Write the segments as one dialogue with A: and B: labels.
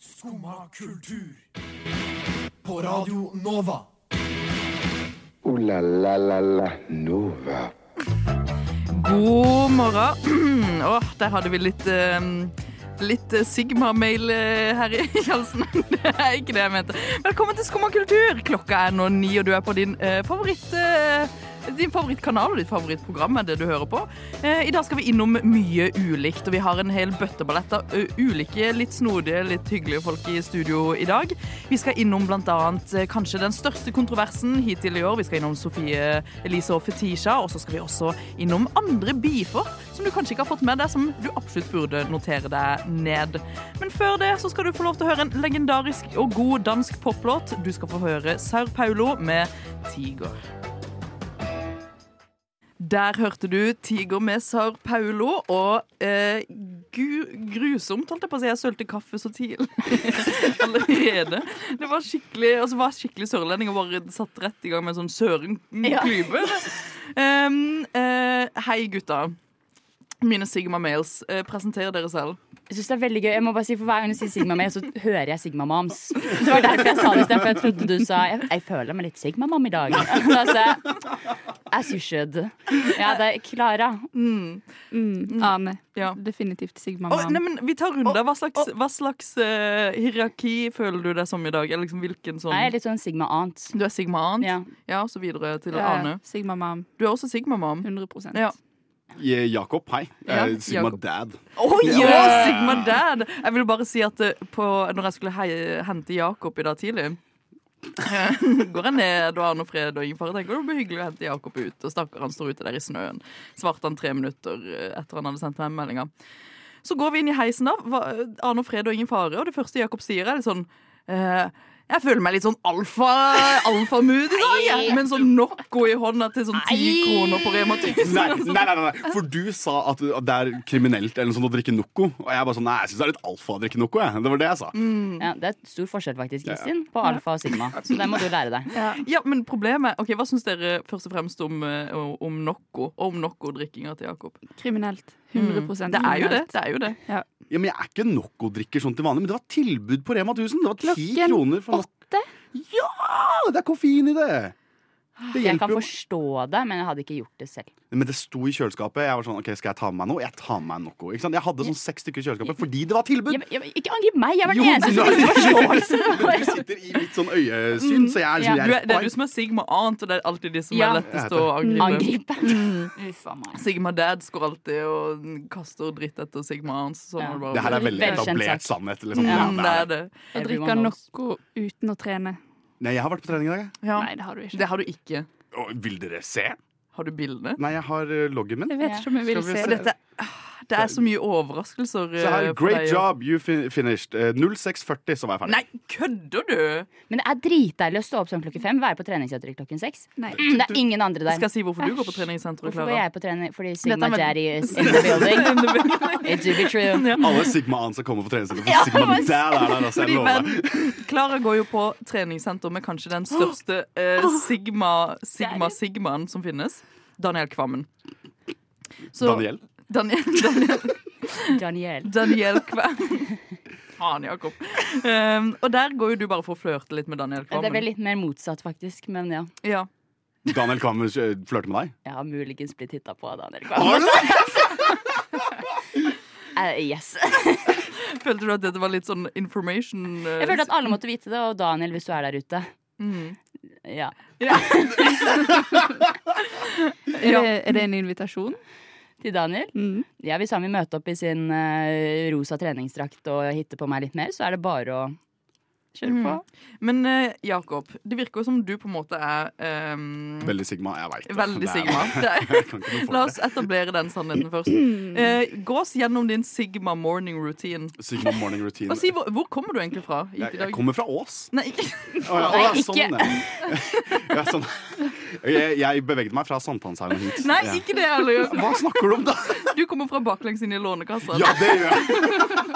A: Skumma kultur. På Radio Nova.
B: Ooh la la la la Nova.
C: God morgen. Åh, der hadde vi litt eh, Litt eh, Sigma-mail eh, her i halsen. Det er ikke det jeg mente. Velkommen til Skumma kultur. Klokka er nå ni, og du er på din eh, favoritt... eh, din favorittkanal og ditt favorittprogram er det du hører på. Eh, I dag skal vi innom mye ulikt, og vi har en hel bøtteballett av ø, ulike, litt snodige, litt hyggelige folk i studio i dag. Vi skal innom blant annet eh, kanskje den største kontroversen hittil i år. Vi skal innom Sofie Elise og Fetisha, og så skal vi også innom andre beefer som du kanskje ikke har fått med deg, som du absolutt burde notere deg ned. Men før det så skal du få lov til å høre en legendarisk og god dansk poplåt. Du skal få høre Sir Paulo med 'Tiger'. Der hørte du Tiger med Sar Paulo, og eh, gu, grusomt, holdt jeg på å si. Jeg sølte kaffe så tidlig allerede. Det var skikkelig, altså, var skikkelig sørlending og bare satt rett i gang med en sånn sørenklype. Um, eh, hei, gutta. Mine Sigma Males. Eh, presenter dere selv.
D: Jeg synes det er veldig gøy. Jeg må bare si For hver gang du sier Sigma Mel, så hører jeg Sigma Moms. Det var derfor jeg sa det. Derfor jeg trodde du sa Jeg, jeg føler meg litt Sigma Mom i dag. altså, as you should. Ja, det er Klara.
E: Mm, Ane.
C: Ja.
E: Definitivt Sigma
C: Å,
E: Mam.
C: nei, men vi tar runder. Hva slags, hva slags eh, hierarki føler du deg som i dag? Eller liksom hvilken sånn
D: Jeg er litt sånn Sigma Aunt.
C: Du er Sigma Ant, ja.
D: Ja.
C: og så videre til
E: Ja,
C: Arne.
E: Sigma Mam.
C: Du er også Sigma Mam.
E: 100
C: Ja.
F: Ja, Eh, Jakob, hei.
C: Ja,
F: Eh, Sigma
C: Jakob.
F: Dad.
C: Oh,
F: Ja.
C: ja, Sigma Dad! Jeg ville bare si at eh, på, når jeg skulle hei, hente Jakob i dag tidlig eh, Går jeg ned, og Arne og Fred og Ingefar tenker det blir hyggelig å hente Jakob ut. Og stakkar, han står ute der i snøen. Svarte han tre minutter eh, etter han hadde sendt meg meldinga. Så går vi inn i heisen, da. Hva- eh, Arne og Fred og ingen fare. Og det første Jakob sier, er litt sånn eh, Jeg føler meg litt sånn alfa alfamood i dag, jeg. Med en sånn Nocco i hånda til sånn ti kroner på Rema 1000.
F: Nei, nei, nei, nei, nei, for du sa at at det er kriminelt eller noe sånt å drikke Noco. Og jeg bare sånn, nei, jeg syns det er litt alfa å drikke Noco. Jeg. Det var det jeg sa.
D: Ja, det er stor forskjell faktisk, Kristin, på alfa og sigma. Så det må du lære deg.
C: Ja, men problemet Ok, Hva syns dere først og fremst om, eh, om Nocco og om Nocco-drikkinga til Jakob?
F: Mm.
E: Kriminelt. 100
C: Mm. Det er jo det. det, er jo det.
F: Ja, men jeg er ikke Noco-drikker sånn til vanlig, men det var tilbud på Rema 1000. Det var ti
E: Klokken
F: kroner for Noco.
E: Åtte?
F: Ja, det er koffein i det! Det
D: Jeg kan
F: hjelper jo.
D: forstå det, men jeg hadde ikke gjort det selv.
F: Men det sto i kjøleskapet. Jeg var sånn, ok, skal jeg ta med meg noe? Jeg tar med meg Noco. Ikke sant? Jeg hadde sånn seks stykker i kjøleskapet fordi det var tilbud.
D: Jeg, jeg, ikke angrip meg! Jeg var
F: Jo,
D: den eneste som
F: nei.
D: fikk forståelsen.
F: Men Du sitter i mitt sånn øyesyn, så jeg er
D: Ja.
C: Du er,
F: liksom, jeg
C: det er
F: fine.
C: du som er Sigma Ant, og det er alltid de som
D: Ja.
C: er lettest å angripe.
D: Angripe. Uff a meg.
C: Sigma Dads går alltid og kaster dritt etter Sigma Ants. Sånn
D: Ja.
C: er det bare.
F: Det her er veldig
D: Velkjent
F: etablert
D: sak.
F: sannhet. Liksom. Ja,
C: Mm, det er det.
E: Å drikke
D: Everyone knows.
E: noe uten å trene.
F: Nei, jeg har vært på trening i dag. jeg.
C: Ja.
E: Nei, det har du ikke.
C: Det har du ikke.
F: Å, vil dere se?
C: Har du bildene?
F: Nei, jeg har eh, loggen min.
E: Jeg vet
D: Ja.
E: ikke om jeg vil
F: Skal vi
E: se
F: se?
E: det.
C: Dette, ah, det er så mye overraskelser.
F: Så her,
C: eh, for
F: great
C: deg.
F: job, you fin finished. Eh, 06.40, så var jeg ferdig.
C: Nei, kødder du?!
D: Men det er dritdeilig å stå opp sånn klokken fem, være på treningssenteret klokken seks. Mm,
E: Nei.
D: Det er ingen andre der.
C: Skal jeg si hvorfor du går på treningssenteret,
D: Hvorfor går
C: Klara?
D: jeg på trening? Fordi Sigma
C: Dette er
D: Daddy is in the building. It do be true.
F: Alle Sigma-an som kommer på treningssenter.
D: Ja,
F: For Sigma
D: men-
F: der er der, altså,
C: Fordi,
F: jeg lover.
C: men Klara går jo på treningssenter med kanskje den største eh, sigma, sigma sigmaen som finnes. Daniel Kvammen. Så-
F: Daniel.
C: Daniel, Daniel,
D: Daniel.
C: Daniel Kvammen. Faen, Jakob. Um, og der går jo du bare for å flørte litt med Daniel
D: Det er vel
C: Kvammen.
D: litt mer motsatt, faktisk. Men ja.
C: Ja.
F: Daniel Kvammen eh, flørter med deg.
D: Jeg har muligens blitt hitta på av Daniel
F: Har
D: Kvam.
F: du det?
D: Eh, yes.
C: Følte du at dette var litt sånn information? eh,
D: Jeg følte at alle måtte vite det, og Daniel, hvis du er der ute.
C: mm.
D: Ja.
C: ja.
E: Er det, er det en invitasjon?
D: Til Daniel.
E: Mm.
D: Ja, Hvis han vil møte opp i sin eh, rosa treningsdrakt og hitte på meg litt mer, så er det bare å kjøre på.
C: Men eh, Jakob, det virker jo som du på en måte er um,
F: Veldig Sigma. Jeg veit det.
C: Veldig
F: Det er-
C: Sigma. Det er,
F: Jeg kan ikke noe
C: La
F: for
C: oss
F: det.
C: etablere den sannheten først.
E: Mm.
C: Eh, gå oss gjennom din Sigma morning routine.
F: Sigma morning routine.
C: Og si, hvor, hvor kommer du egentlig fra? hit
F: Jeg,
C: i
F: jeg
C: dag?
F: kommer fra Ås.
C: Nei, ikke-
F: Å, ja,
D: Nei,
F: å, ja,
D: ikke.
F: sånn, ja. ja, sånn. Jeg, jeg bevegde meg fra Sankthanshaugen og hit.
C: nei,
F: Ja.
C: ikke det heller.
F: Hva snakker du om, da?
C: Du kommer fra baklengs inn i Lånekassa.
F: Ja, det gjør jeg.
C: Som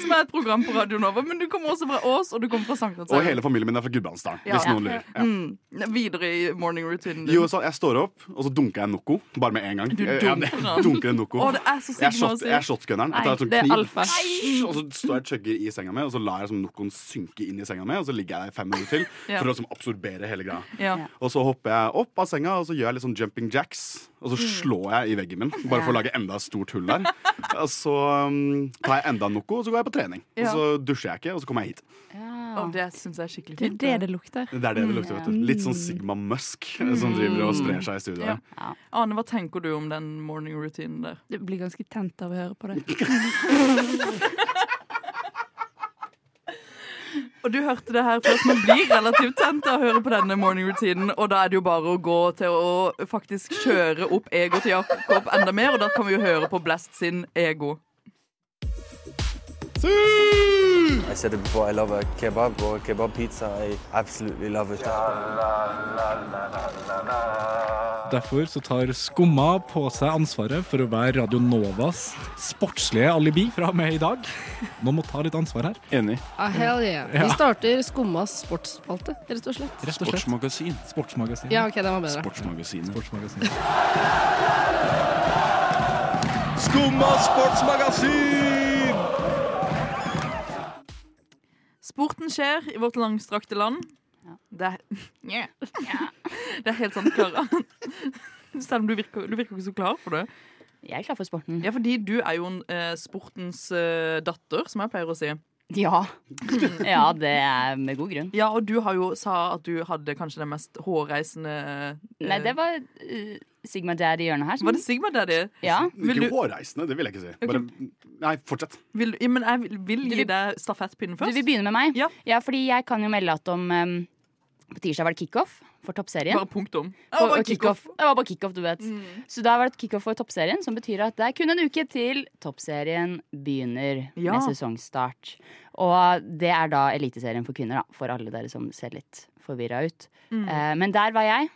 C: som er et program på Radio Nova, men du kommer også fra Ås, og du kommer fra
F: Og
C: Sankthanshaugen.
F: hele familien min er fra Gudbrandsdalen.
C: Ja.
F: Hvis noen lurer. Ja.
C: Mm. Videre i morning routinen din.
F: Jo, så jeg står opp, og så dunker jeg en Noco. Bare med en gang.
C: Du
F: Jeg-
C: dunker
F: jeg,
C: den.
F: dunker en Noco.
C: Å, det er så
F: Jeg er,
C: sykt å
F: shot, jeg er
C: si.
F: shotgunneren. Jeg
E: Nei,
F: tar en sånn
E: det er
F: kniv,
E: alfa.
F: Og så står jeg og chugger i senga mi, og så lar jeg som Nocoen synke inn i senga mi, og så ligger jeg der i fem minutter til
C: Ja.
F: for å liksom absorbere hele greia.
C: Ja.
F: Og så hopper jeg opp av senga og så gjør jeg litt sånn jumping jacks. Og så
C: Mm.
F: slår jeg i veggen min, bare for å lage enda et stort hull der. Og så um, tar jeg enda noe, og så går jeg på trening. Og
C: Ja.
F: så dusjer jeg ikke, og så kommer jeg hit.
D: Ja.
C: Å, det syns jeg er skikkelig
E: Det er
C: fint.
E: det det lukter.
F: Det er det det lukter, vet du. Litt sånn Sigma Musk eh, som driver og sprer seg i studio
C: Ja.
F: her.
C: Ane, hva tenker du om den morning routinen der?
E: Du blir ganske tent av å høre på det.
C: Og du hørte det her først, man blir relativt tent av å høre på denne morning routinen, og da er det jo bare å gå til å faktisk kjøre opp ego til Jakob enda mer, og da kan vi jo høre på Blast sin ego.
G: I said it before, I love a kebab or a kebab pizza. I absolutely love it.
H: Derfor så tar Skumma på seg ansvaret for å være Radio Novas sportslige alibi fra og med i dag. Nå må ta litt ansvar her.
F: Enig.
I: Ah, hell yeah.
H: Ja.
I: Vi starter Skummas sportsspalte, rett og slett.
H: Rett og slett.
F: Sportsmagasin.
H: Sportsmagasin.
I: Ja, ok, den var bedre.
F: Sportsmagasinet.
H: Sportsmagasin.
F: Skumma sportsmagasin!
C: Sporten skjer i vårt langstrakte land. Det er, Nja. det er helt sant, Klara. Selv om du virker, du virker ikke så klar for det.
D: Jeg er klar for sporten.
C: Ja, fordi du er jo en eh, sportens eh, datter, som jeg pleier å si.
D: Ja. ja, det er med god grunn.
C: Ja, og du har jo sa at du hadde kanskje den mest hårreisende eh,
D: Nei, det var eh, Sigma Dad i hjørnet her. som-
C: Var det Sigma Daddy?
D: Ja.
C: Vil
F: Ikke
C: du-
F: hårreisende, det vil jeg ikke si. Bare, nei, fortsett.
C: Vil, ja, men jeg vil, vil
D: Du
C: gi
D: vil-
C: deg stafettpinnen
D: Du
C: først.
D: vil begynne med meg?
C: Ja.
D: fordi jeg kan jo melde at om em, På tirsdag var det kickoff for toppserien.
C: Bare Mm. punktum.
D: Og- og kickoff. Det var bare kickoff, du vet. Så da var det et kickoff for toppserien, som betyr at det er kun en uke til toppserien begynner
C: Ja.
D: med sesongstart. Og det er da Eliteserien for kvinner, da, for alle dere som ser litt forvirra ut.
C: Mm.
D: Eh, men der var jeg,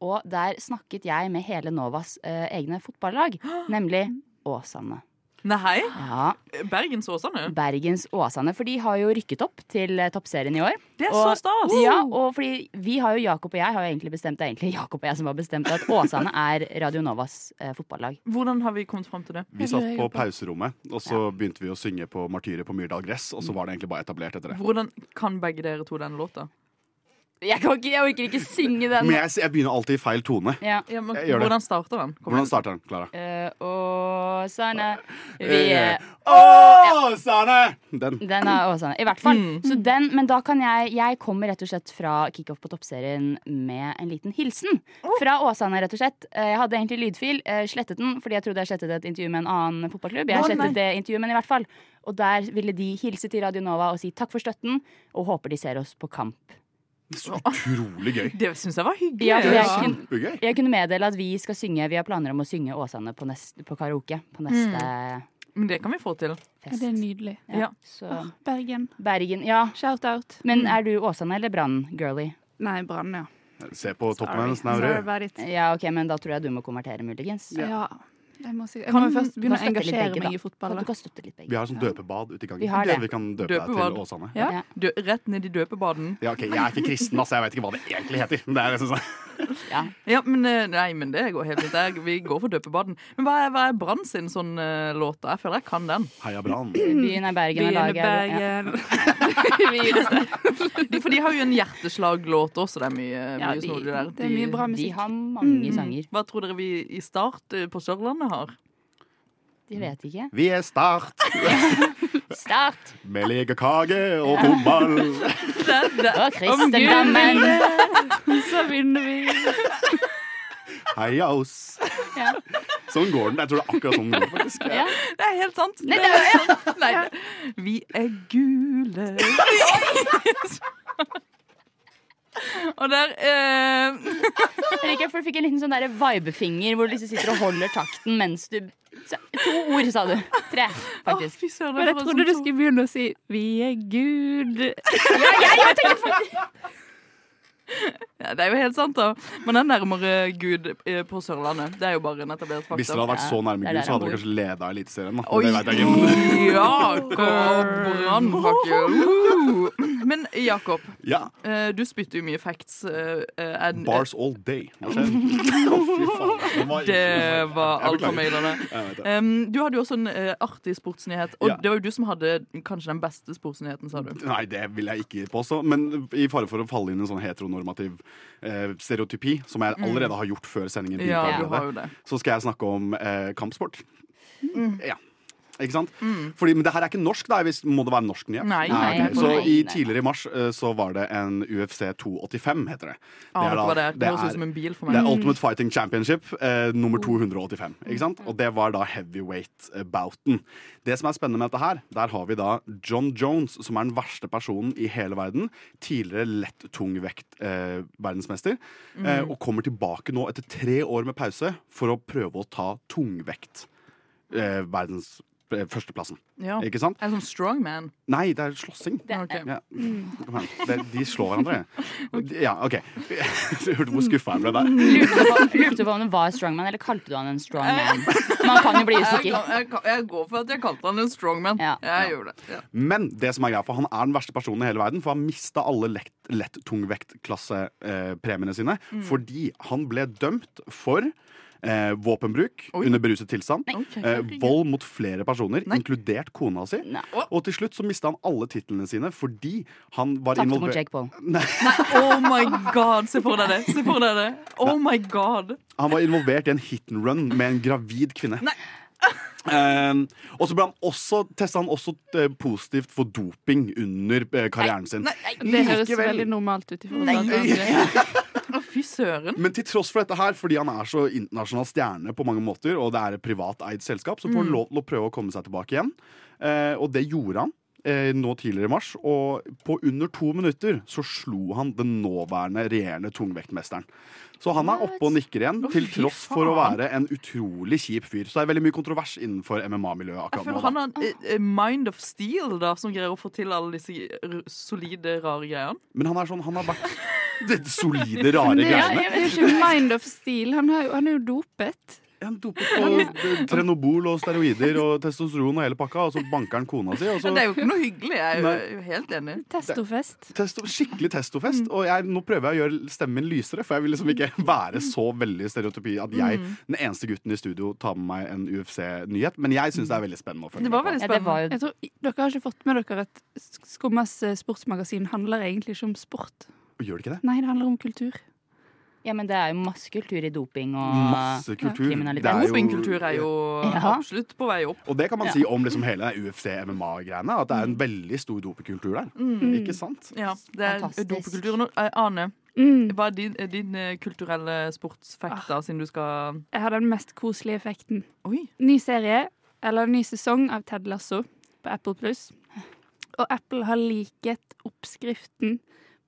D: og der snakket jeg med hele Novas eh, egne fotballag, nemlig Åsane.
C: Nei,
D: Ja,
C: Bergens Åsane.
D: Bergens Åsane, for de har jo rykket opp til eh, toppserien i år.
C: Det er så
D: Og-
C: stas!
D: Ja, og fordi vi har jo Jakob og jeg har jo egentlig bestemt det er egentlig Jakob og jeg som har bestemt at Åsane er Radio Novas eh, fotballag.
C: Hvordan har vi kommet fram til det?
F: Vi satt på pauserommet, og så begynte vi å synge på 'Martyret på Myrdal gress', og så var det egentlig bare etablert etter det.
C: Hvordan kan begge dere to den låta?
D: Jeg, kan ikke, jeg orker ikke synge den.
F: Men jeg, jeg begynner alltid i feil tone.
D: Ja.
C: Ja, men,
F: Jeg gjør det.
C: hvordan starter den? Kom
F: Hvordan
C: igjen.
F: starter den, Klara?
D: Eh, Åsane
F: Eh,
D: vi eh, er
F: Å, Sane! Den.
D: Den er Åsane. I hvert fall.
C: Mm.
D: Så den, men da kan jeg Jeg kommer rett og slett fra kickoff på Toppserien med en liten hilsen. Fra Åsane, rett og slett. Eh, Jeg hadde egentlig lydfil, eh, slettet den fordi jeg trodde jeg slettet et intervju med en annen fotballklubb. Jeg
C: Å,
D: slettet
C: nei.
D: det intervjuet, men i hvert fall. Og der ville de hilse til Radio Nova og si takk for støtten, og håper de ser oss på kamp.
F: Så utrolig gøy.
C: Det syns jeg var hyggelig.
D: Ja, for
F: Det
D: jeg
F: er
D: kunne,
F: kjempegøy.
D: jeg kunne meddele at vi skal synge Vi har planer om å synge Åsane på, nest, på karaoke på neste
C: Men det kan vi få til.
E: Ja,
D: fest.
E: det er nydelig.
C: Ja.
D: Så
E: Åh, Bergen.
D: Bergen, ja.
E: Shout out.
D: Men
C: Mm.
D: er du Åsane eller Brann-girlie?
E: Nei, Brann, ja.
F: Se på toppen
D: Sorry.
F: hennes, den er
E: Sorry
F: rød.
E: about it.
D: Ja, ok, men da tror jeg du må konvertere, muligens.
E: Ja. Jeg må, si- jeg
D: Kan
E: må først begynne å
D: støtte litt
E: engasjere
D: begge, da.
E: meg i
D: Kan
E: fotball.
D: du
E: da.
D: kan støtte litt
F: Vi
D: begge.
F: har sånn døpebad ute i gangen.
D: Vi har det.
F: vi kan døpe deg
C: Døpebad.
F: til Åsane.
E: Ja.
D: Ja.
C: Dø rett ned i døpebaden.
F: Ja, ok, Jeg er ikke kristen, altså. Jeg vet ikke hva det egentlig heter. Men det er liksom sånn.
C: Ja, men, eh, nei, men det går helt fint. Jeg- Vi går for døpebaden. Men hva er, hva er Brann sin sånn eh, låt? Jeg føler jeg kan den.
F: Heia Brann.
D: Byen er Bergen, og
E: Begynne
D: laget er ja.
E: Bergen.
C: De, for de har jo en hjerteslaglåt også. Det er mye,
E: Ja,
C: mye
E: de-
C: snodig der.
E: det er mye bra
D: De
E: musikk.
D: har mange sanger.
C: Hva tror dere vi i start eh, på Sørlandet har?
D: De vet ikke.
F: Vi er Start
D: Start!
F: med lekekake og fotball.
D: Og kristendommen!
E: Så vinner vi.
F: Heia oss.
D: Ja.
F: Sånn går den. Jeg tror det er akkurat sånn den går, faktisk.
D: Ja.
C: Det er helt sant.
D: Nei,
C: Det
D: det
C: er helt sant. Nei, det- Vi er gule. Og der eh,
D: Jeg liker, for du fikk en liten sånn der vibefinger hvor du liksom sitter og holder takten mens du Så- To ord, sa du. Tre, faktisk.
C: Fy søren.
E: Men jeg
C: for en
E: trodde du
C: sånn
E: skulle begynne å si 'Vi er Gud'.
D: Ja, jeg, jeg tenkte faktisk
C: Ja, det er jo helt sant, da. Men det er nærmere Gud eh, på Sørlandet. Det er jo bare en etablert fakta.
F: Hvis dere hadde vært så
D: sånn,
F: nærme
D: Det er
F: Gud,
D: der
F: så hadde
D: jeg
F: dere kanskje leda Eliteserien. da.
C: Oi,
F: Det vet jeg ikke.
C: Jakob Brannbakke. Uh. Men Jakob,
F: Ja,
C: eh, du spytter jo mye facts. eh, eh, er-
F: Bars all day. Hva skjer? Å, fy faen. Det var-
C: Det var
F: Jeg beklager.
C: alfameilerne.
F: Jeg vet det.
C: Um, du hadde jo også en eh, artig sportsnyhet, og
F: Ja.
C: det var jo du som hadde kanskje den beste sportsnyheten, sa du.
F: Nei, det vil jeg ikke påstå. Men i fare for å falle inn i en sånn heteronormativ eh, stereotypi, som
D: Mm.
F: jeg allerede har gjort før sendingen begynte,
C: Ja, du
F: allerede,
C: har jo det.
F: så skal jeg snakke om eh, kampsport.
C: Mm.
F: Ja. Ikke sant? Fordi, men det her er ikke norsk, da. Hvis, må det være norsk nyhet?
C: Nei,
F: Ah,
D: nei,
F: ok.
D: nei,
F: Så
D: nei,
F: i
D: nei.
F: tidligere i mars eh, så var det en UFC 285, heter det.
C: Aner ikke hva det er. Det høres
F: det
C: ut som en bil for
F: det er
C: meg.
F: Ultimate Fighting Championship, eh, nummer 285. ikke sant? Og det var da heavyweight-bouten. Det som er spennende med dette her, der har vi da John Jones, som er den verste personen i hele verden. Tidligere lett tungvekt-verdensmester. eh, og kommer tilbake nå etter tre år med pause for å prøve å ta tungvekt. Eh, verdens eh, førsteplassen.
C: Ja.
F: Ikke sant?
C: En sånn strongman.
F: Nei, det er slåssing.
C: Ok.
F: Ja. Kom igjen. Det, de slår hverandre. Ja, OK. Du hørte hvor skuffa jeg ble der.
D: Lurte på, lurte på om det var strongman, eller kalte du han en strongman? Man kan jo bli
C: Jeg,
D: usikker.
C: kan- jeg, kan- jeg går for at jeg kalte han en strongman.
D: Ja.
C: Jeg gjør det. Ja.
F: Men det som er greia, for han er den verste personen i hele verden, for han mista alle lett, lett tungvektklassepremiene eh, premiene sine
D: Mm.
F: fordi han ble dømt for eh, våpenbruk
C: Oi.
F: under beruset tilstand,
C: Ok,
F: eh, vold mot flere personer, inkludert kona si,
D: Nei.
F: og til slutt så mista han alle titlene sine fordi han var
D: Tapte mot Jake
F: involvert
D: Paul.
C: Oh my god, se for deg det! Se for deg det. Oh my god.
F: Han var involvert i en hit and run med en gravid kvinne. Ehm, og så ble han også, testa han også eh, positivt for doping under eh, karrieren sin.
E: Det høres
F: Likevel.
E: veldig normalt ut. i forhold
C: Nei.
E: til at det er-
C: Å, Fy søren.
F: Men til tross for dette her, fordi han er så internasjonal stjerne på mange måter, og det er et privateid selskap, så får
C: Mm.
F: han lov til å prøve å komme seg tilbake igjen. Eh, og det gjorde han. eh, Nå tidligere i mars, og på under to minutter så slo han den nåværende regjerende tungvektmesteren. Så han er oppe og nikker igjen, til
C: fy
F: tross for å
C: faen.
F: være en utrolig kjip fyr. Så det er veldig mye kontrovers innenfor MMA-miljøet
C: Jeg
F: akkurat
C: føler
F: nå.
C: han
F: Da.
C: har en eh, eh, mind of steel da, som greier å få til alle disse eh, r- solide, rare greiene.
F: Men han er sånn, han har vært det solide, rare
E: Det er
F: greiene.
E: det er ikke mind of steel. Han er jo, han er jo dopet.
F: Han dopet på trenobol og steroider og testosteron og hele pakka, og så banker han kona si. Og så
C: Men det er jo ikke noe hyggelig. Jeg er jo-
F: Nei.
C: jeg er jo helt enig.
E: Testofest.
F: testo, skikkelig testofest.
C: Mm.
F: Og jeg, nå prøver jeg å gjøre stemmen min lysere, for jeg vil liksom ikke være så veldig stereotypi at jeg,
C: Mm.
F: den eneste gutten i studio, tar med meg en UFC-nyhet. Men jeg syns det er veldig spennende å følge
C: Mm. Det var
F: med på.
C: veldig
D: Ja, det
C: spennende.
D: var jo
E: Jeg tror, dere har ikke fått med dere at Skummas eh, sportsmagasin handler egentlig ikke om sport.
F: Gjør det ikke det?
E: Nei, det handler om kultur.
D: Ja, men det er jo masse kultur i doping og
F: Masse kultur.
D: kriminalitet.
F: Det er jo-
C: Dopingkultur er jo
D: Ja.
C: absolutt på vei opp.
F: Og det kan man si om liksom hele UFC-MMA-greiene, at det er en veldig stor dopingkultur der. Ikke sant?
C: Mm. Ja, det er
D: Fantastisk.
C: dopingkultur. Nå, eh, Ane,
E: Mm.
C: hva er din, eh, din eh, kulturelle sportsfakt, da, siden du skal
E: Jeg har den mest koselige effekten.
C: Oi!
E: Ny serie, eller ny sesong av Ted Lasso på Apple Pluss. Og Apple har liket oppskriften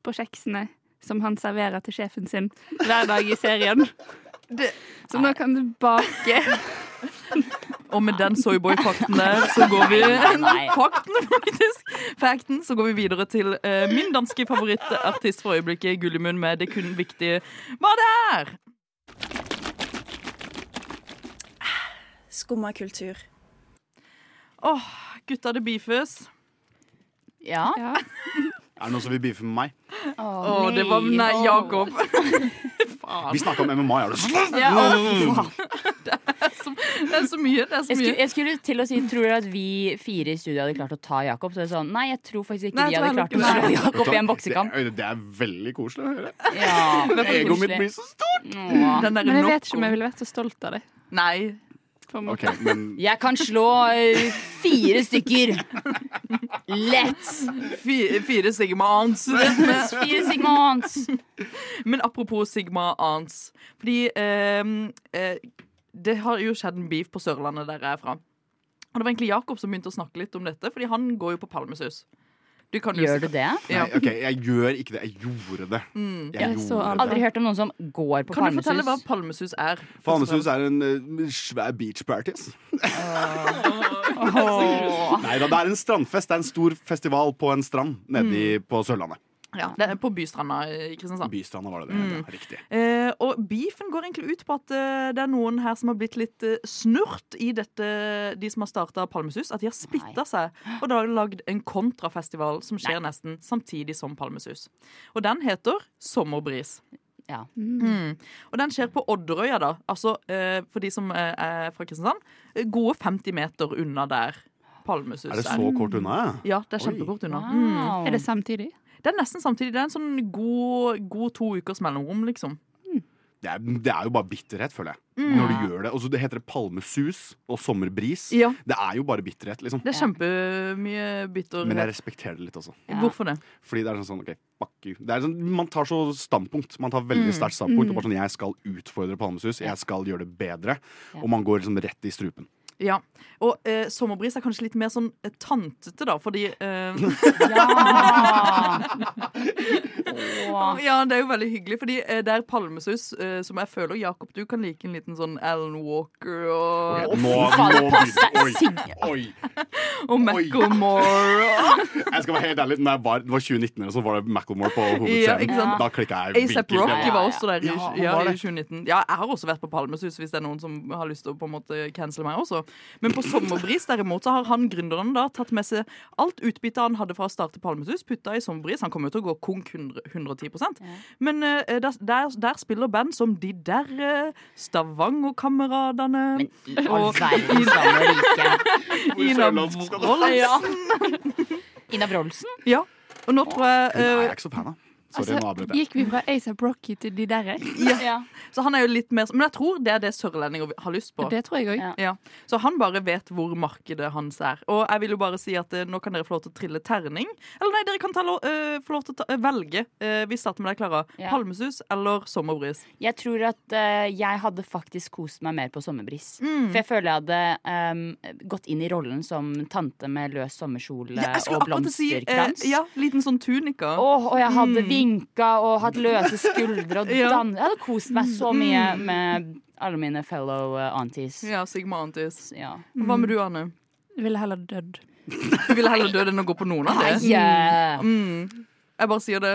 E: på kjeksene som han serverer til sjefen sin hver dag i serien. Så nå kan du bake
C: Og med den Soyboy-fakten der, så går vi
D: Nei.
C: Fakten, faktisk! Fakten, så går vi videre til eh, min danske favorittartist for øyeblikket, Gullimund, med det kun viktige Hva det er!
J: Skumma kultur.
C: Åh, gutta, det beefes.
D: Ja.
E: ja.
F: Er det noen som vil beefe med meg?
C: Å, det var Nei, Jakob.
F: Vi snakka om MMA, er det sånn?
D: Ja, å, faen.
C: Det er så mye. Det er så
D: jeg, skulle,
C: mye.
D: jeg skulle til å si Tror dere at vi fire i studio hadde klart å ta Jakob? Så er det sånn, Nei, jeg tror faktisk ikke
C: Nei,
D: vi
C: jeg
D: hadde
C: tror
D: klart å
C: heller
D: slå
C: ikke.
D: Jakob i en boksekamp.
F: Det, det er veldig koselig å høre.
D: Ja, det var
F: Egoet mitt
D: koselig.
F: blir så stort.
D: Åh.
C: Den der
E: Men jeg
C: nok
E: vet ikke om
C: om-
E: jeg ville vært så stolt av det.
C: Nei.
E: på en måte.
F: Ok, men
D: Jeg kan slå ø, fire stykker. Lett.
C: Fire, fire Sigma Ants.
D: Fire sigmans.
C: Men apropos Sigma Ants. Fordi ehm, eh, det har jo skjedd en beef på Sørlandet, der jeg er fra. Og det var egentlig Jakob som begynte å snakke litt om dette, fordi han går jo på Palmesus. Du kan jo
D: Gjør du det?
C: Ja.
F: Nei, ok, jeg gjør ikke det. Jeg gjorde det. Jeg
E: Jeg så
F: gjorde
E: aldri-
F: det.
D: Aldri hørt om noen som går på
C: Kan du fortelle hva
D: palmesus.
C: Palmesus er?
F: Fanesus er en eh, svær beach parties.
D: Åh.
F: Nei da, det er en strandfest. Det er en stor festival på en strand nede i- på Sørlandet.
C: Ja, det er på Bystranda i Kristiansand.
F: Bystranda var det det.
C: Mm.
F: ja, Riktig.
C: Eh, og beefen går egentlig ut på at eh, det er noen her som har blitt litt eh, snurt i dette, de som har starta Palmesus, at de har splitta seg og da har de lagd en kontrafestival som skjer nesten samtidig som Palmesus. Og den heter Sommerbris.
D: Ja.
C: Mm. Og den skjer på Odderøya, da. Altså eh, for de som eh, er fra Kristiansand, eh, gode 50 meter unna der Palmesus
F: Er det så kort unna?
C: Ja,
F: ja?
C: det er
F: Oi.
C: kjempekort unna. Mm.
D: Wow.
E: Er det samtidig?
C: Det er nesten samtidig. Det er en sånn god, god to ukers mellomrom, liksom.
F: Det er, det er jo bare bitterhet, føler jeg. Når du gjør det. Og så det heter det palmesus og sommerbris.
C: Ja.
F: Det er jo bare bitterhet, liksom.
C: Det er kjempemye bitterhet.
F: Men jeg respekterer det litt også.
D: Ja.
C: Hvorfor det?
F: Fordi det er sånn sånn, ok, fuck you. Det er sånn, man tar så standpunkt. Man tar veldig sterkt standpunkt. Og bare sånn, jeg skal utfordre Palmesus, jeg skal gjøre det bedre.
D: Ja.
F: Og man går liksom rett i strupen.
C: Ja. Og eh, sommerbris er kanskje litt mer sånn eh, tantete, da, fordi eh,
D: Ja! Åh.
C: Ja, det er jo veldig hyggelig, fordi eh, det er palmesus, eh, som jeg føler Jakob, du kan like en liten sånn Alan Walker og,
F: nå,
D: faen, det passer
F: begynner-
D: sinnssykt.
F: oi, oi.
C: og Macklemore og
F: Jeg skal være helt ærlig, når jeg var, det var 2019, eller så var det Macklemore på
C: Ja,
F: hovedscenen.
C: ikke sant?
F: Da klikka jeg.
C: ASAP
F: virkelig.
C: Rocky
D: ja,
C: var
D: ja.
C: også der i,
F: Ja, han
C: ja, i
F: var det.
C: 2019. Ja, jeg har også vært på Palmesus, hvis det er noen som har lyst til å på en måte cancele meg også. Men på Sommerbris derimot så har han gründeren da tatt med seg alt utbyttet han hadde fra å starte Palmesus, putta i Sommerbris. Han kommer jo til å gå konk 100, 110 Men eh, der, der, der spiller band som de derre, Stavangerkameradene
D: Men i all
C: Og-
D: verdens land og rike.
C: Ina
F: Sørlandsk skal det-
D: Ja.
C: Wroldsen.
D: Ina Wroldsen?
C: Ja. Og nå tror jeg
F: Hun er
C: eh,
F: jeg ikke så fan av. Sorry, nå avbrøt jeg.
E: Altså, gikk vi fra ASAP Rocky til de derre?
D: Ja.
C: Så han er jo litt mer Men jeg tror det er det sørlendinger har lyst på.
E: Det tror jeg òg.
D: Ja.
C: Ja, Så han bare vet hvor markedet hans er. Og jeg vil jo bare si at eh, nå kan dere få lov til å trille terning. Eller nei, dere kan ta lo eh, få lov til å ta, eh, velge. Eh, vi starter med deg, Klara.
D: Ja.
C: Palmesus eller sommerbris?
D: Jeg tror at eh, jeg hadde faktisk kost meg mer på sommerbris.
C: Mm.
D: For jeg føler jeg hadde ehm, gått inn i rollen som tante med løs sommerkjole Eh, og blomsterkrans.
C: eh, ja, liten sånn tunika.
D: Åh, og jeg hadde vinka og hatt løse skuldre og
C: Ja. Mm.
D: dan... Jeg hadde kost meg så mye med alle mine fellow eh, aunties. Ja.
C: Ja, Mm. Sigma Antis.
D: Mm.
C: Hva med du, Anne?
E: Ville heller dødd.
C: Du ville heller død enn å gå på noen av det?
D: Yeah.
C: Mm. Jeg bare sier det.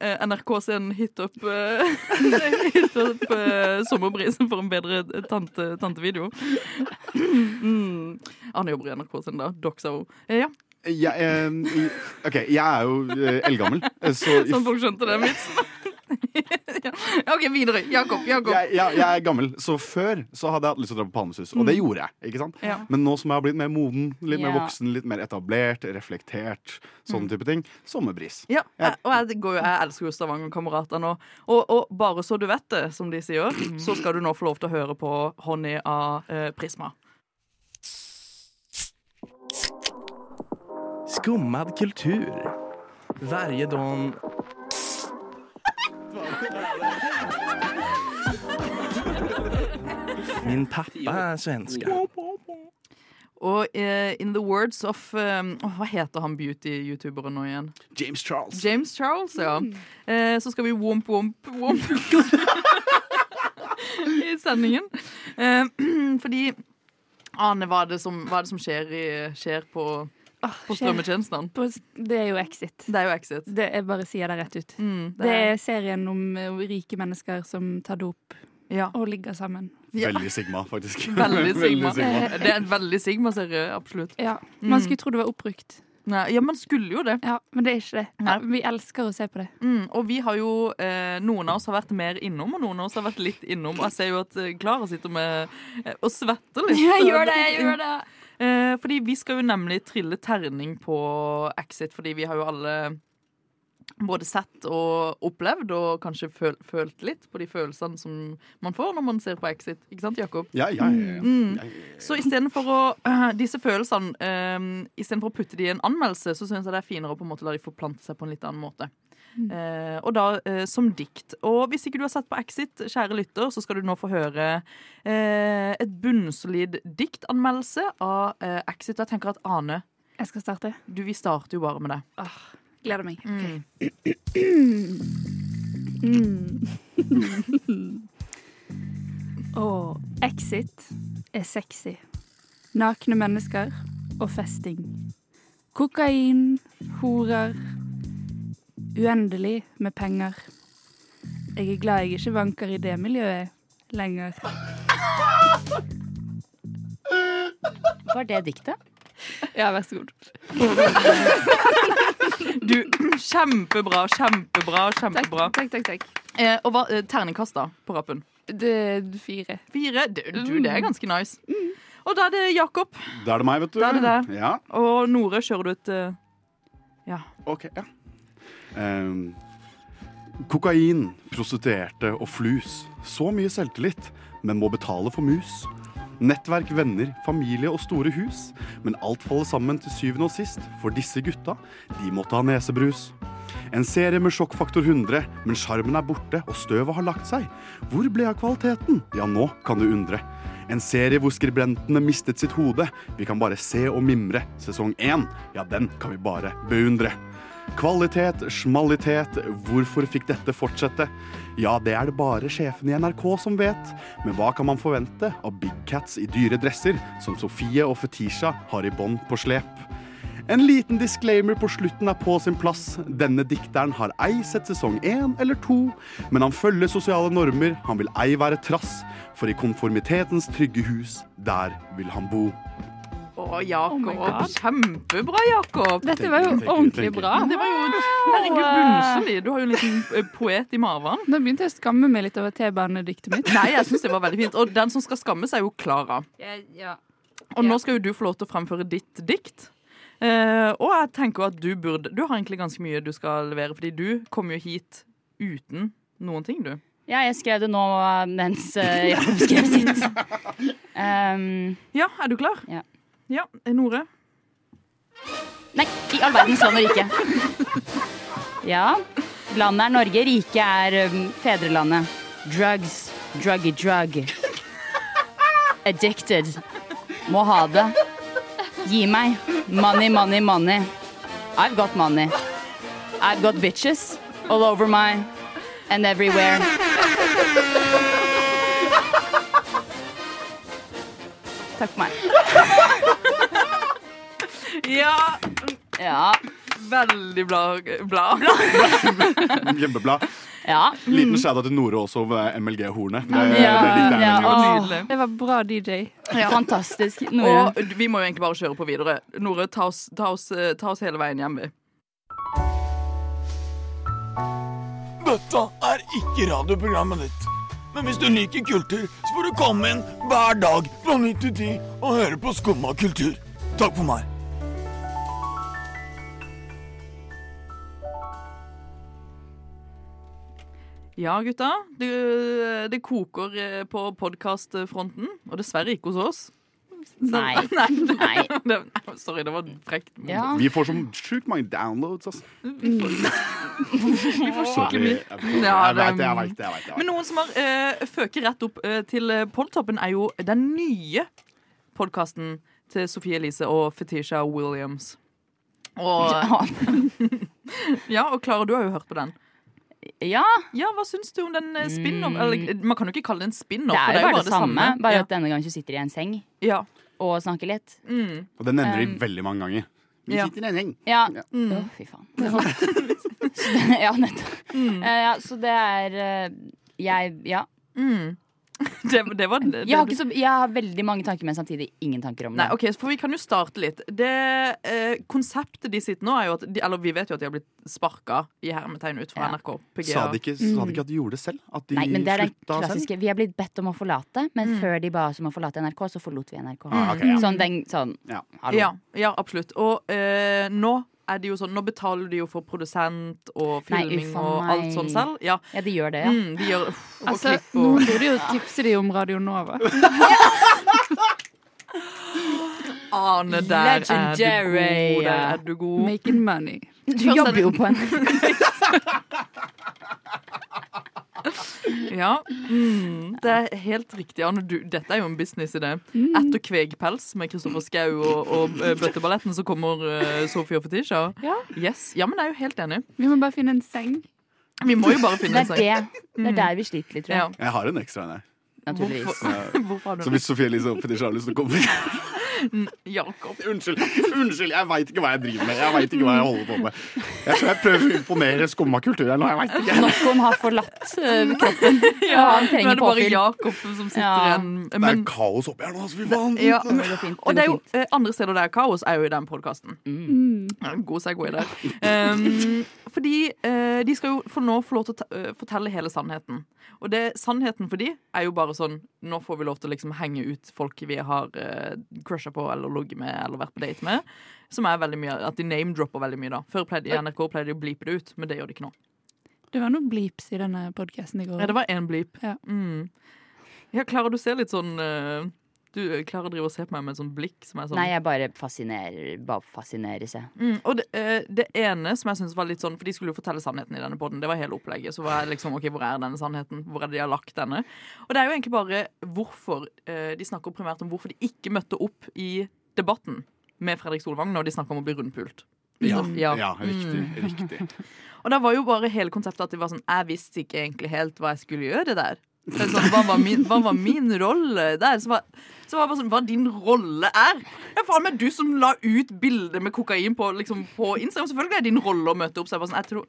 C: Eh, NRK sin hit up, eh, hit up eh, sommerbrisen for en bedre eh, tante, tantevideo. Mm. Anne jobber i NRK sin, da. Doxo. Eh, ja,
F: Jeg, eh, OK, jeg er jo eh, eldgammel, så
C: sånn folk skjønte den vitsen. ja. OK, videre. Jakob. Jakob.
F: jeg, jeg, jeg er gammel, så før så hadde jeg hatt lyst til å dra på Palmesus, og det gjorde jeg. ikke sant?
C: Mm. Ja.
F: Men nå som jeg har blitt mer moden, litt mer
D: Ja.
F: voksen, litt mer etablert, reflektert,
C: Mm.
F: sånne type ting, sommerbris.
C: Ja, jeg, og jeg, går jo, jeg elsker jo Stavanger-kamerater nå. Og, og bare så du vet det, som de sier, så skal du nå få lov til å høre på Honey av eh, Prisma.
A: Skummad kultur. Varje dag Min pappa är svenska.
C: Og eh, in the words of eh, åh, Hva heter han beauty-youtuberen nå igjen?
F: James Charles.
C: James Charles, ja. Eh, så skal vi womp, womp, womp i sendingen. Eh, fordi Ane, hva er det som, hva er det som skjer, i, skjer på, på strømmetjenestene?
E: Det er jo Exit.
C: Det er jo Exit.
E: Det, jeg bare sier det rett ut.
C: Mm,
E: Det er serien om eh, rike mennesker som tar dop
C: ja.
E: og ligger sammen.
C: Ja.
F: Veldig Sigma, faktisk.
C: Veldig Sigma.
F: Sigma.
C: Det er en veldig Sigma-serie, absolutt.
E: Ja.
C: Mm.
E: Man skulle tro det var oppbrukt,
C: Nei, ja, man skulle jo det.
E: ja, men det er ikke det.
C: Nei.
E: Vi elsker å se på det.
C: Mm, og vi har jo, eh, noen av oss har vært mer innom, og noen av oss har vært litt innom. Og jeg ser jo at eh, Klara sitter med eh, og svetter litt.
D: det.
C: Eh, fordi vi skal jo nemlig trille terning på Exit, fordi vi har jo alle både sett og opplevd, og kanskje føl følt litt på de følelsene som man får når man ser på Exit. Ikke sant, Jakob?
F: Ja, ja, ja,
C: Mm.
F: ja.
C: Så istedenfor å øh, Disse følelsene øh, Istedenfor å putte de i en anmeldelse, så syns jeg det er finere å på en måte la de forplante seg på en litt annen måte. Eh, og da eh, som dikt. Og hvis ikke du har sett på Exit, kjære lytter, så skal du nå få høre eh, et bunnsolid diktanmeldelse av eh, Exit. Og jeg tenker at Ane,
E: Jeg skal starte. Mm.
C: du, vi starter jo bare med det.
E: Gleder meg. Mm. Og exit er sexy. Nakne mennesker og festing. Kokain, horer Uendelig med penger. Jeg er glad jeg ikke vanker i det miljøet lenger.
D: Var det diktet?
E: Ja, vær så god.
C: Du, kjempebra, kjempebra,
E: Takk,
C: kjempebra.
E: takk, takk. takk.
C: Eh, og hva, eh, terningkast da, på rappen?
E: Det fire.
C: Fire? Du, du, det er ganske nice. Og da er det Jakob.
F: Da er det meg, vet du.
C: Da er det deg.
F: Ja,
C: Og Nore, kjører du et eh,
F: ok, ja. Ehm, kokain, prostituerte og flus. Så mye selvtillit, men må betale for mus. Nettverk, venner, familie og store hus. Men alt faller sammen til syvende og sist, for disse gutta, de måtte ha nesebrus. En serie med sjokkfaktor 100, men sjarmen er borte og støvet har lagt seg. Hvor ble av kvaliteten? Ja, nå kan du undre. En serie hvor skribentene mistet sitt hode. Vi kan bare se og mimre. Sesong én, ja, den kan vi bare beundre. Kvalitet, smalitet, hvorfor fikk dette fortsette? Ja, det er det bare sjefen i NRK som vet. Men hva kan man forvente av big cats i dyre dresser, som Sofie og Fetisha har i bånd på slep? En liten disclaimer på slutten er på sin plass. Denne dikteren har ei sett sesong én eller to, men han følger sosiale normer, han vil ei være trass, for i konformitetens trygge hus, der vil han bo.
C: Å, Jakob.
E: my God.
C: Kjempebra, Jakob.
E: Dette var jo
F: Tenker, tenker,
E: ordentlig
F: tenker.
E: bra.
C: Det var jo Herregud, bunnsolid. Du har jo en liten eh, poet i maven.
E: Nå begynte jeg å skamme meg litt over T-banediktet mitt.
C: Nei, jeg syns det var veldig fint. Og den som skal skammes, er jo Klara. Og nå
E: Ja.
C: skal jo du få lov til å fremføre ditt dikt. Eh, og jeg tenker at du burde Du har egentlig ganske mye du skal levere, fordi du kom jo hit uten noen ting, du.
D: Ja, jeg skrev det nå eh, mens eh, Jakob skrev sitt. Um,
C: Ja, er du klar?
D: Ja.
C: ja Nore?
D: Nei, i all verdens land og rike. Ja. Landet er Norge, riket er um, fedrelandet. Drugs, druggy drug. Addicted. Må ha det. Gi meg. Money, money, money. I've got money. I've got bitches all over my and everywhere. Takk for meg.
C: Ja,
D: Ja.
C: veldig bra. bla.
F: Hjemmeblad.
D: Ja.
F: Liten shadow til Nore også over MLG-hornet. Det,
D: Ja,
F: det likte jeg
D: ja,
F: veldig godt.
D: Åh.
C: Nydelig.
E: Det var bra DJ.
D: Fantastisk. Nora.
C: Og vi må jo egentlig bare kjøre på videre. Nore, ta oss, ta oss, eh, ta oss hele veien hjem, vi.
J: Dette er ikke radioprogrammet ditt. Men hvis du liker kultur, så får du komme inn hver dag fra 9 til 10 og høre på Skumma kultur. Takk for meg.
C: Ja, gutta. Du, det koker eh, på podkastfronten. Og dessverre ikke hos oss.
D: Nei.
C: Nei,
D: Nei.
C: det, sorry, det var frekt.
D: Ja.
F: Vi får så sjukt mange downloads, altså.
C: Vi får skikkelig mye. Ja,
F: Jeg
C: det-
F: vet det, jeg vet det. jeg vet det.
C: Men noen som har eh, føket rett opp eh, til eh, podtoppen, er jo den nye podkasten til Sofie Elise og Fetisha Williams. Og, ja, og Klara, du har jo hørt på den.
D: Ja,
C: Ja, Hva syns du om den eh, spin-off? Eller, Man kan jo ikke kalle det en spin-off.
D: Mm. det
C: for
D: er jo bare det samme. Bare
C: Ja.
D: at denne gangen du sitter i en seng
C: Ja.
D: og snakker litt.
C: Mm.
F: Og den nevner de
D: Um,
F: veldig mange ganger. Vi
C: ja.
F: sitter i en gjeng.
D: Ja.
C: Mm.
D: Å, fy faen. Så det- ja, nettopp. Eh, ja, så det er eh, jeg, ja.
C: Mm. Det, det var det,
D: jeg, har ikke så, jeg har veldig mange tanker, men samtidig ingen tanker om det.
C: Nei, ok, så for Vi kan jo starte litt. Det eh, Konseptet de sitter nå, er jo at de, Eller vi vet jo at de har blitt sparka i hermetegn ut fra
D: Ja.
C: NRK. PG,
F: Sa de, ikke, sa de ikke at de gjorde det selv? At de
D: Mm. Nei, men det er den
F: slutta selv?
D: klassiske Vi har blitt bedt om å forlate, men
C: Mm.
D: før de ba oss om å forlate NRK, så forlot vi NRK.
F: Ah, ok, ja.
D: Sånn, den, sånn
F: Ja.
D: hallo.
C: Ja, ja absolutt. Og eh, nå er det jo sånn Nå betaler de jo for produsent og
D: Nei,
C: filming
D: uff a
C: og alt
D: meg.
C: sånn selv. Ja,
D: Ja, de gjør det, ja.
C: mm, de gjør uff, og
E: Altså,
C: klipp og Oh.
E: Noen burde jo tipse de om Radio Nova.
C: Ane, der er du
D: Legendary,
C: god. Der
D: ja.
C: er du god.
E: Making money.
D: Du jobber jo på en
C: Ja. Mm, det er helt riktig, Ane. Du, dette er jo en businessidé.
D: Mm.
C: Etter Kvegpels med Kristoffer Schou og, og eh, Bøtteballetten, så kommer eh, Sofie og Fetisha.
E: Ja.
C: Yes. ja, men jeg er jo helt enig.
E: Vi må bare finne en seng.
C: Vi må jo bare
D: Det
C: finne
D: er
C: en sang.
D: det. Det
C: Mm.
D: er der vi sliter litt, tror
C: Ja.
D: jeg.
F: Jeg har en ekstra en her.
D: Naturligvis.
C: Hvorfor, hvorfor har du
F: Så hvis Sofie Elise og Fetisha har lyst til å komme
C: Jakob.
F: Unnskyld, unnskyld, jeg veit ikke hva jeg driver med. Jeg vet ikke hva jeg holder på med. Jeg tror jeg prøver å imponere skumma kultur her nå. Jeg vet ikke.
D: Noen har forlatt eh, kroppen, og
C: Mm. Nå
D: han
C: er
D: trenger
C: det bare
D: påfyll.
C: Jakob som sitter
D: Ja.
C: igjen.
F: Det
C: Men,
F: er kaos oppi her nå, altså. Fy faen.
C: ja.
D: Det går fint,
C: Og det
D: det
C: er
D: går
C: jo
D: fint.
C: eh, andre steder det er kaos, er jo i den podkasten. God segway der. Um, fordi eh, de skal jo for nå få lov til å ta- eh, fortelle hele sannheten. Og det, sannheten for de er jo bare sånn Nå får vi lov til å liksom henge ut folk vi har uh, crusha på eller ligget med eller vært på date med. Som er veldig mye At de name-dropper veldig mye, da. Før pleide de i NRK pleide de å bleepe det ut, men det gjør de ikke nå.
E: Det var noen bleeps i denne podkasten i går.
C: Ja, det var én bleep.
E: Ja.
C: Mm. ja, Klara, du ser litt sånn eh, Du eh, Klara driver og ser på meg med et sånt blikk som er sånn
D: Nei, jeg bare fascinerer, bare fascineres, jeg.
C: mm. Og det, eh, det ene som jeg synes var litt sånn For de skulle jo fortelle sannheten i denne podden. Det var hele opplegget. Så var jeg liksom, ok, hvor er denne sannheten? Hvor er det de har lagt denne? Og det er jo egentlig bare hvorfor eh, De snakker primært om hvorfor de ikke møtte opp i debatten med Fredrik Solvang når de snakker om å bli rundpult.
F: Ja,
C: Ja. Mm.
F: ja, riktig. riktig.
C: Og da var jo bare hele konseptet at det var sånn Jeg visste ikke egentlig helt hva jeg skulle gjøre der. Så sånn, hva, var min, hva var min rolle der? Så var, så var det bare sånn, Hva din rolle er? Ja, faen meg du som la ut bilde med kokain på, liksom, på Instagram. Selvfølgelig er din rolle å møte opp. Så jeg bare sånn, jeg tror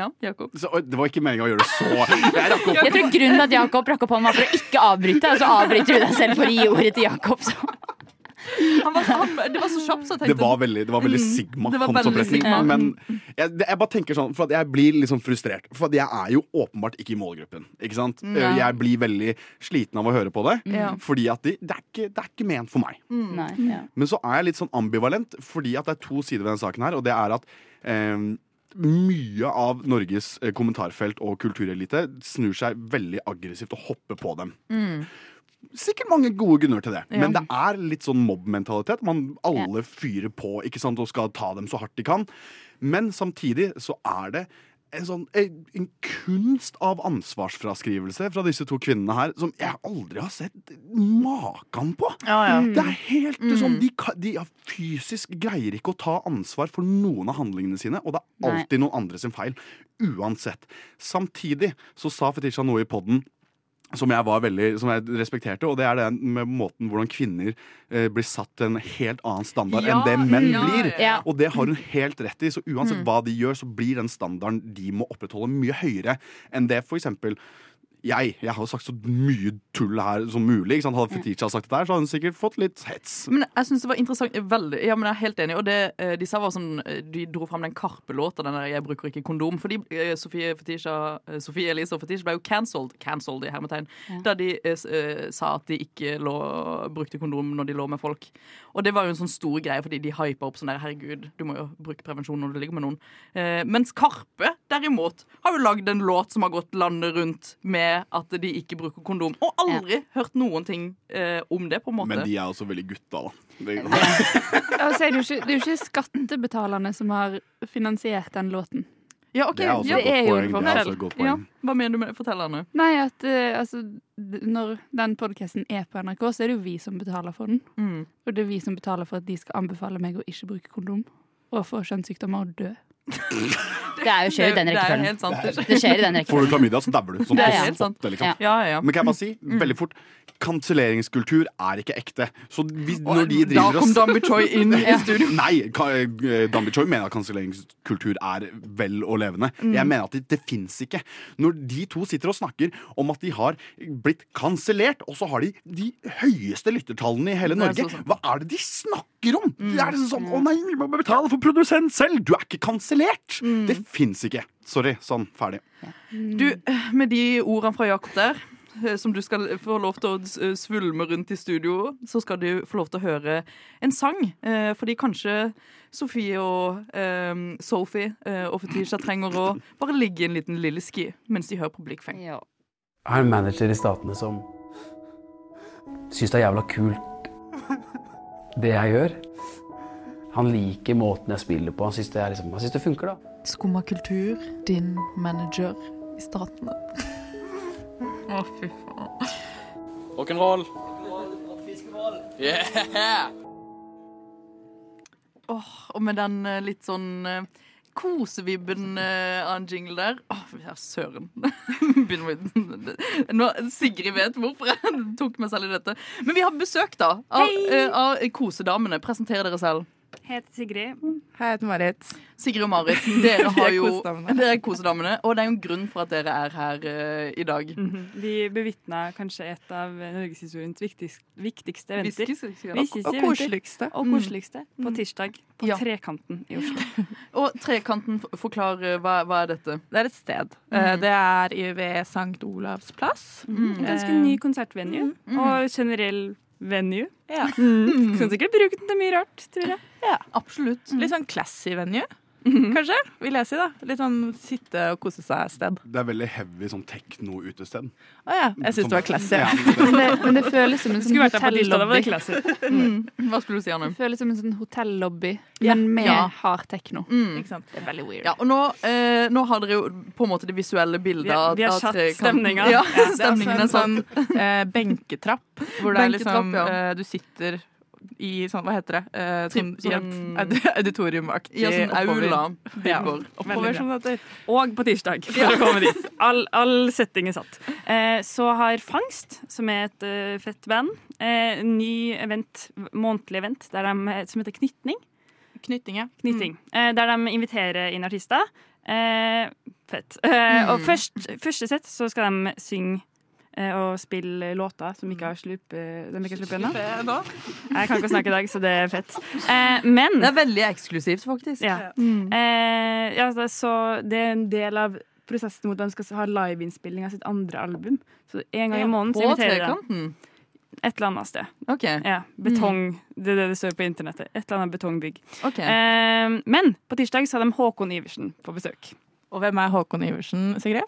C: Ja, Jakob?
F: Så, oi, det var ikke meninga å gjøre det så Jeg rakk opp
D: Jeg tror grunnen til at Jakob rakk opp hånden var for å ikke avbryte, og så avbryter du deg selv for å gi ordet til Jakob. Så.
C: Han var, så- han, det var så kjapt, så jeg
F: Det
C: tenkte Mm.
F: var veldig, det var veldig Sigma.
C: det var veldig
F: håndsopprekning.
C: Sigma.
F: Men jeg, det- jeg bare tenker sånn, for at jeg blir litt sånn frustrert. For at jeg er jo åpenbart ikke i målgruppen. Ikke sant? Jeg blir veldig sliten av å høre på det.
C: Mm. Ja.
F: Fordi at de, det, er ikke, det er ikke ment for meg.
C: Mm.
D: Nei, ja.
F: Men så er jeg litt sånn ambivalent, fordi at det er to sider ved denne saken her. Og det er at eh, mye av Norges eh, kommentarfelt og kulturelite snur seg veldig aggressivt og hopper på dem. Sikkert mange gode grunner til det, men det er litt sånn mobbmentalitet. Man alle fyrer på ikke sant, og skal ta dem så hardt de kan. Men samtidig så er det en, sånn, en en kunst av ansvarsfraskrivelse fra disse to kvinnene her som jeg aldri har sett maken på. Mm.
C: ja, ja. Mm.
F: Det er helt sånn de, ka- de har fysisk greier ikke å ta ansvar for noen av handlingene sine, og det er
D: Nei.
F: alltid noen andre sin feil. Uansett. Samtidig så sa Fetisha noe i podden som jeg, var veldig, som jeg respekterte, og det er det med måten hvordan kvinner eh, blir satt til en helt annen standard enn det menn
C: ja, Mm.
F: blir.
C: ja.
D: Ja.
F: Og det har hun helt rett i. Så uansett hva de gjør, så blir den standarden de må opprettholde, mye høyere enn det for eksempel jeg, jeg har jo sagt så mye tull her som mulig. Ikke sant? Hadde Fetisha sagt det der, så hadde hun sikkert fått litt hets.
C: Men jeg synes det var interessant veldig, Ja, men jeg er helt enig. Og det eh, de sa var sånn eh, De dro fram den Karpe-låta, den der 'Jeg bruker ikke kondom'. Fordi eh, Sofie, Fetisha, eh, Sofie Elise og Fetisha ble jo cancelled, cancelled i hermetegn, da de eh, s- eh, sa at de ikke lå, brukte kondom når de lå med folk. Og det var jo en sånn stor greie, fordi de hypa opp sånn der 'Herregud, du må jo bruke prevensjon når du ligger med noen'. Eh, mens Karpe, derimot, har jo lagd en låt som har gått landet rundt med at de ikke bruker kondom. Og aldri hørt noen ting eh, om det, på en måte.
F: Men de er også veldig gutta, da. Det-
E: Ja, og så er det, jo ikke, det er jo ikke skattebetalerne som har finansiert den låten.
C: Ja, ok.
F: Det er også
C: ja.
E: det er
F: et
E: jo
F: godt
E: en
F: poeng. Det er også et godt poeng.
C: Ja, hva mener du med Fortell henne.
E: Nei, at eh, altså d- Når den podkasten er på NRK, så er det jo vi som betaler for den.
C: Mm.
E: Og det er vi som betaler for at de skal anbefale meg å ikke bruke kondom. Og få kjønnssykdommer og dø.
D: Det er jo skjer i den
C: det er
D: rekkefølgen.
C: helt sant. Det
D: Det skjer i den
F: Får du
D: rekkefølgen.
F: klamydia, så dauer du. Sånn
C: Det er
F: på
C: helt sant.
F: spottet, liksom.
D: Ja.
C: Ja, ja, Mm. ja.
F: Men kan jeg bare si, veldig fort Kanselleringskultur er ikke ekte. Så hvis,
C: Og
F: når de
C: da
F: driver
C: kom
F: og
C: Dambi Choi inn i studio.
F: Nei, ka- eh, Dambi Choi mener at kanselleringskultur er vel og levende.
C: Mm.
F: Jeg mener at det, det fins ikke. Når de to sitter og snakker om at de har blitt kansellert, og så har de de høyeste lyttertallene i hele
C: Det er
F: Norge,
C: så sant. Mm.
F: hva er det de snakker om? Det er liksom sånn 'Å nei, vi må betale for produsent selv'! Du er ikke kansellert!
C: Mm.
F: Det fins ikke. Sorry. Sånn. Ferdig.
C: Du, med de ordene fra Jakob der, eh, som du skal få lov til å s- eh, svulme rundt i studio, så skal du få lov til å høre en sang. eh, Fordi kanskje Sofie og eh, Sophie eh, og Fetisha trenger å bare ligge i en liten lilleski mens de hører på Blikkfeng.
D: Ja.
G: Jeg er en manager i Statene som syns det er jævla kult, det jeg gjør. Han liker måten jeg spiller på. Han syns det, er liksom, han synes det funker, da.
C: Skumma kultur, din manager i staten. Å, fy faen.
G: Rock'n'roll.
C: Åh, og med den eh, litt sånn eh, kosevibben eh, av en jingle der. Åh, ja, søren. Begynner med Nå, Sigrid vet hvorfor jeg tok meg selv i dette. Men vi har besøk, da, av, eh, av kosedamene. Presenter dere selv.
E: Heter Sigrid.
K: Hei, jeg heter Marit.
C: Sigrid og Marit, dere,
K: Vi
C: har
K: er
C: jo,
K: kosedamene.
C: dere er kosedamene. Og det er jo en grunn for at dere er her eh, i dag.
L: Vi bevitna kanskje et av norgeshistoriens viktigste, viktigste eventer.
C: Viskes, ikke sant?
L: Viskes
C: Og
L: eventer.
C: koseligste.
E: Mm.
L: Og koseligste. På tirsdag. På
C: Ja.
L: Trekanten i Oslo.
C: Og Trekanten, f- forklar eh, hva, hva er dette?
K: Det er et sted. Eh, Det er i- ved St. Olavs plass.
L: Mm. Ganske
K: Eh,
L: ny konsertvenue.
E: Mm.
L: Og generell venue.
K: Ja.
L: Mm. Kan sikkert bruke den til mye rart, tror jeg.
K: Ja.
C: Absolutt. Mhm.
K: Litt sånn classy venue, kanskje, vil jeg si. da. Litt sånn sitte og kose seg-sted.
F: Det er veldig heavy sånn tekno-utested.
K: Å ja, jeg syns det var classy.
F: Ja.
E: Men det, men det føles som en sånn
K: Skulle vært der på tirsdag, da var det
E: hotellobby.
K: klasser.
C: Hva skulle du si, Anne?
E: Det føles som en sånn hotellobby,
C: Ja.
E: men med
C: Ja.
E: hard tekno.
C: Mm.
K: Ikke sant? Det er veldig weird.
C: Ja, og nå, eh, nå har dere jo på en måte det visuelle bildet
K: Vi har-
C: av
K: vi har
C: av
K: satt
C: trekanten.
K: stemninga.
C: Ja,
K: Ja, det er også
C: stemningen er
K: en
C: sånn.
K: eh, benketrapp. Hvor det er liksom
C: Benketrapp, ja.
K: eh, Du sitter i sånn, hva heter det? Eh, sånn,
C: Typ sånn-
K: I et aud- auditoriumaktig
C: Ja, sånn
K: oppover.
C: aula.
K: Ja,
C: Oppover.
K: oppover sånn som det heter.
L: Og på tirsdag, for å
K: sånn
L: komme dit. All, all setting er satt. Eh, så har Fangst, som er et eh, fett band, eh, en ny event, månedlig event der de, eh, som heter Knytning.
K: Knytting, ja.
L: Knytting. Eh, der de inviterer inn artister. Eh, fett. Eh, Og først, første sett så skal de synge eh, og spille låter som ikke har slup, eh, de ikke har sluppet ennå.
K: Nå.
L: Jeg kan ikke snakke i dag, så det er fett. Eh, men
C: Det er veldig eksklusivt, faktisk.
L: ja.
K: Mm.
L: Eh, ja, det er så det er en del av prosessen mot at de skal ha liveinnspilling av sitt andre album. Så en gang i måneden så
C: På
L: inviterer de
C: trekanten.
L: et eller annet sted.
C: OK.
L: Ja,
K: Mm.
L: betong. Det er det det står på internettet. Et eller annet betongbygg.
C: ok.
L: Eh, men på tirsdag så har de Håkon Iversen på besøk.
K: Og hvem er Håkon Iversen, Sigrid?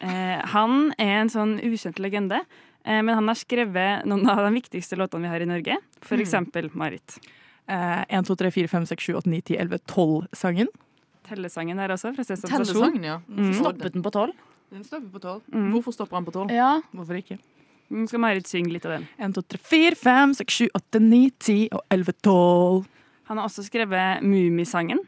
L: Eh, han er en sånn ukjent legende. eh, Men han har skrevet noen av de viktigste låtene vi har i Norge. For eksempel Marit.
K: Mm. Eh, 1, 2, 3, 4, 5, 6, 7, 8, 9, 10, 11, 12-sangen.
L: Tellesangen der også, fra Sesam Stasjon.
C: Tellesangen, ja.
K: Mm.
D: Stoppet den på tolv?
K: Den stopper på 12.
C: Hvorfor stopper han på tolv?
D: Ja.
K: Hvorfor ikke?
L: Nå Mm, skal Marit synge litt av den.
K: 1, 2, 3, 4, 5, 6, 7, 8, 9, 10 og 11, 12.
L: Han har også skrevet Mumisangen.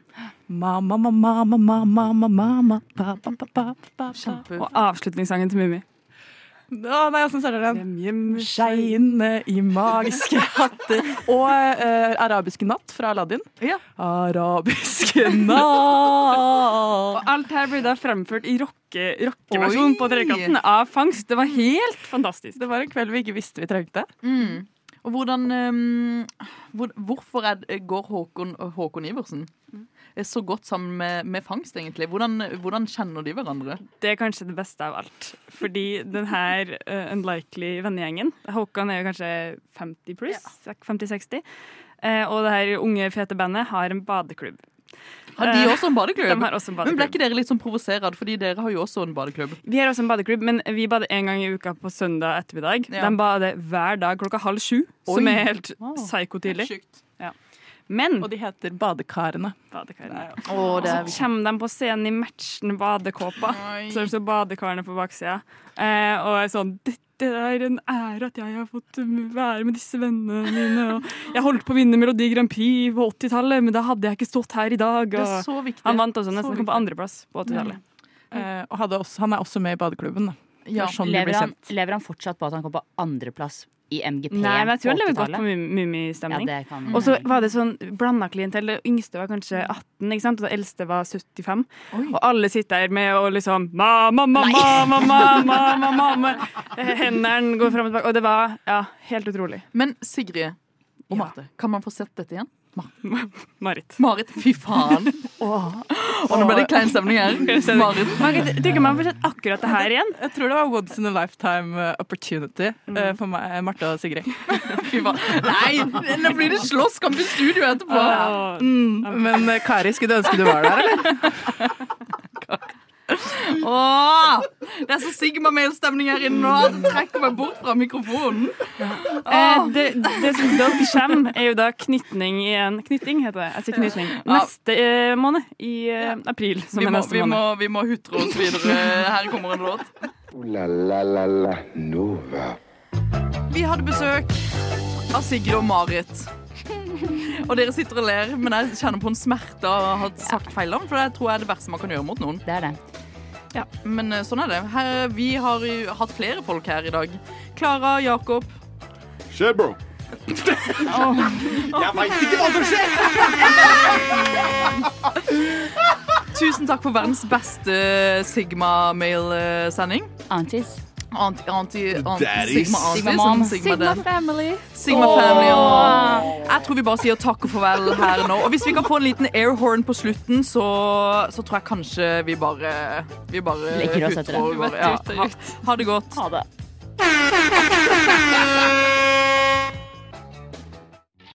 K: Mamma, mamma, mamma, mamma, mamma, pa, pa, pa, pa, pa, pa.
L: Og avslutningssangen til Mummi.
K: Å nei, åssen starter den? Skeiene i magiske hatter. Og eh, Arabiske natt fra Aladdin.
C: Ja.
K: Arabiske natt.
L: Og alt her blir da fremført i rocke- rockeversjon på Trekanten av Fangst. Det var helt fantastisk.
K: Det var en kveld vi ikke visste vi trengte.
C: Mm. Og hvordan ehm, hvor, Hvorfor er, det- går Håkon, Håkon Iversen
K: Mm.
C: er så godt sammen med, med Fangst, egentlig? Hvordan, hvordan kjenner de hverandre?
L: Det er kanskje det beste av alt. Fordi den her eh, unlikely vennegjengen Håkan er jo kanskje 50 pluss. 50-60. eh, og det her unge, fete bandet har en badeklubb.
C: Har de
L: Eh,
C: også en
L: De
C: badeklubb?
L: har også en
C: Men ble
L: badeklubb.
C: ikke dere litt sånn provosert, fordi dere har jo også en badeklubb?
L: Vi har også en badeklubb, men vi bader én gang i uka på søndag ettermiddag.
C: Ja.
L: De bader hver dag klokka halv sju, som
C: Oi.
L: er helt
C: Wow.
L: psykotidlig. Men
K: Og de heter Badekarene.
L: badekarene.
C: Å, det
L: Så kommer de på scenen i matchende badekåpa. Så er det så badekarene på baksida. Eh, og er sånn Dette er en ære at jeg har fått være med disse vennene mine. Og jeg holdt på å vinne Melodi Grand Prix på 80-tallet, men da hadde jeg ikke stått her i dag.
C: Det er
L: Og
C: så viktig.
L: han vant også, nesten
C: Så
L: kom på andreplass på 80-tallet.
K: Eh, og hadde også, han er også med i badeklubben. Da. Det
C: Ja.
K: er sånn de
D: Lever
K: blir
D: han,
K: kjent.
D: lever han fortsatt på at han kom på andreplass i MGP
L: Nei, men jeg tror han lever godt på
D: mye
L: mum- Mummistemning.
D: Ja, det kan Mm.
L: Og så var det sånn blanda klientell. Det yngste var kanskje
C: Mm.
L: 18, ikke sant? og det eldste var 75. Og alle sitter her med og liksom Mamma, mamma, mamma, mamma, mamma. Hendene går fram og tilbake. Og det var ja, helt utrolig.
C: Men Sigrid og Marte, kan man få sett dette igjen?
L: Marit.
C: Marit, fy faen! Og nå ble det klein stemning her. Marit.
L: Marit, tror ikke man får sett akkurat det her igjen.
K: Jeg tror det var once in a lifetime eh, opportunity eh, for meg, Marte og Sigrid.
C: Mm. Fy faen. Nei, nå blir det slåsskamp i studio etterpå!
L: Og
C: Mm.
K: Men eh, Kari, skulle du ønske du var der, eller?
C: Åh, det er så Sigma-mail-stemning her inne nå at jeg trekker meg bort fra mikrofonen.
L: Eh, det, det som da kommer, er jo da knytning igjen. Knytting heter det. Jeg sier knytning. Neste eh, måned. I eh, april, som
C: Vi
L: er
C: må,
L: neste
C: vi må,
L: måned.
C: vi må hutre oss videre. Her kommer en låt.
B: Ooh la la la la Nova.
C: Vi hadde besøk av Sigrid og Marit. Og dere sitter og ler, men jeg kjenner på en smerte av å ha sagt feil navn, for det tror jeg er det verste man kan gjøre mot noen.
D: Det er det.
C: Ja, Men eh, sånn er det. Her, vi har jo hatt flere folk her i dag. Klara, Jakob.
F: Skjer, bro.
C: Jeg
F: veit ikke hva som
C: Tusen takk for verdens beste eh, Sigma-mail-sending.
D: Aunties.
C: Anti, anti, anti,
D: Daddies.
C: Sigma Aunties.
D: Sigma mom.
C: sånn Sigma,
E: Sigma
C: den.
E: Family.
C: Sigma Family. Og jeg tror vi bare sier takk og farvel her nå. Og hvis vi kan få en liten airhorn på slutten, så, så tror jeg kanskje vi bare Vi bare
D: Leker oss etter det.
C: og går. Ja. Ha, ha det godt.
D: Ha det.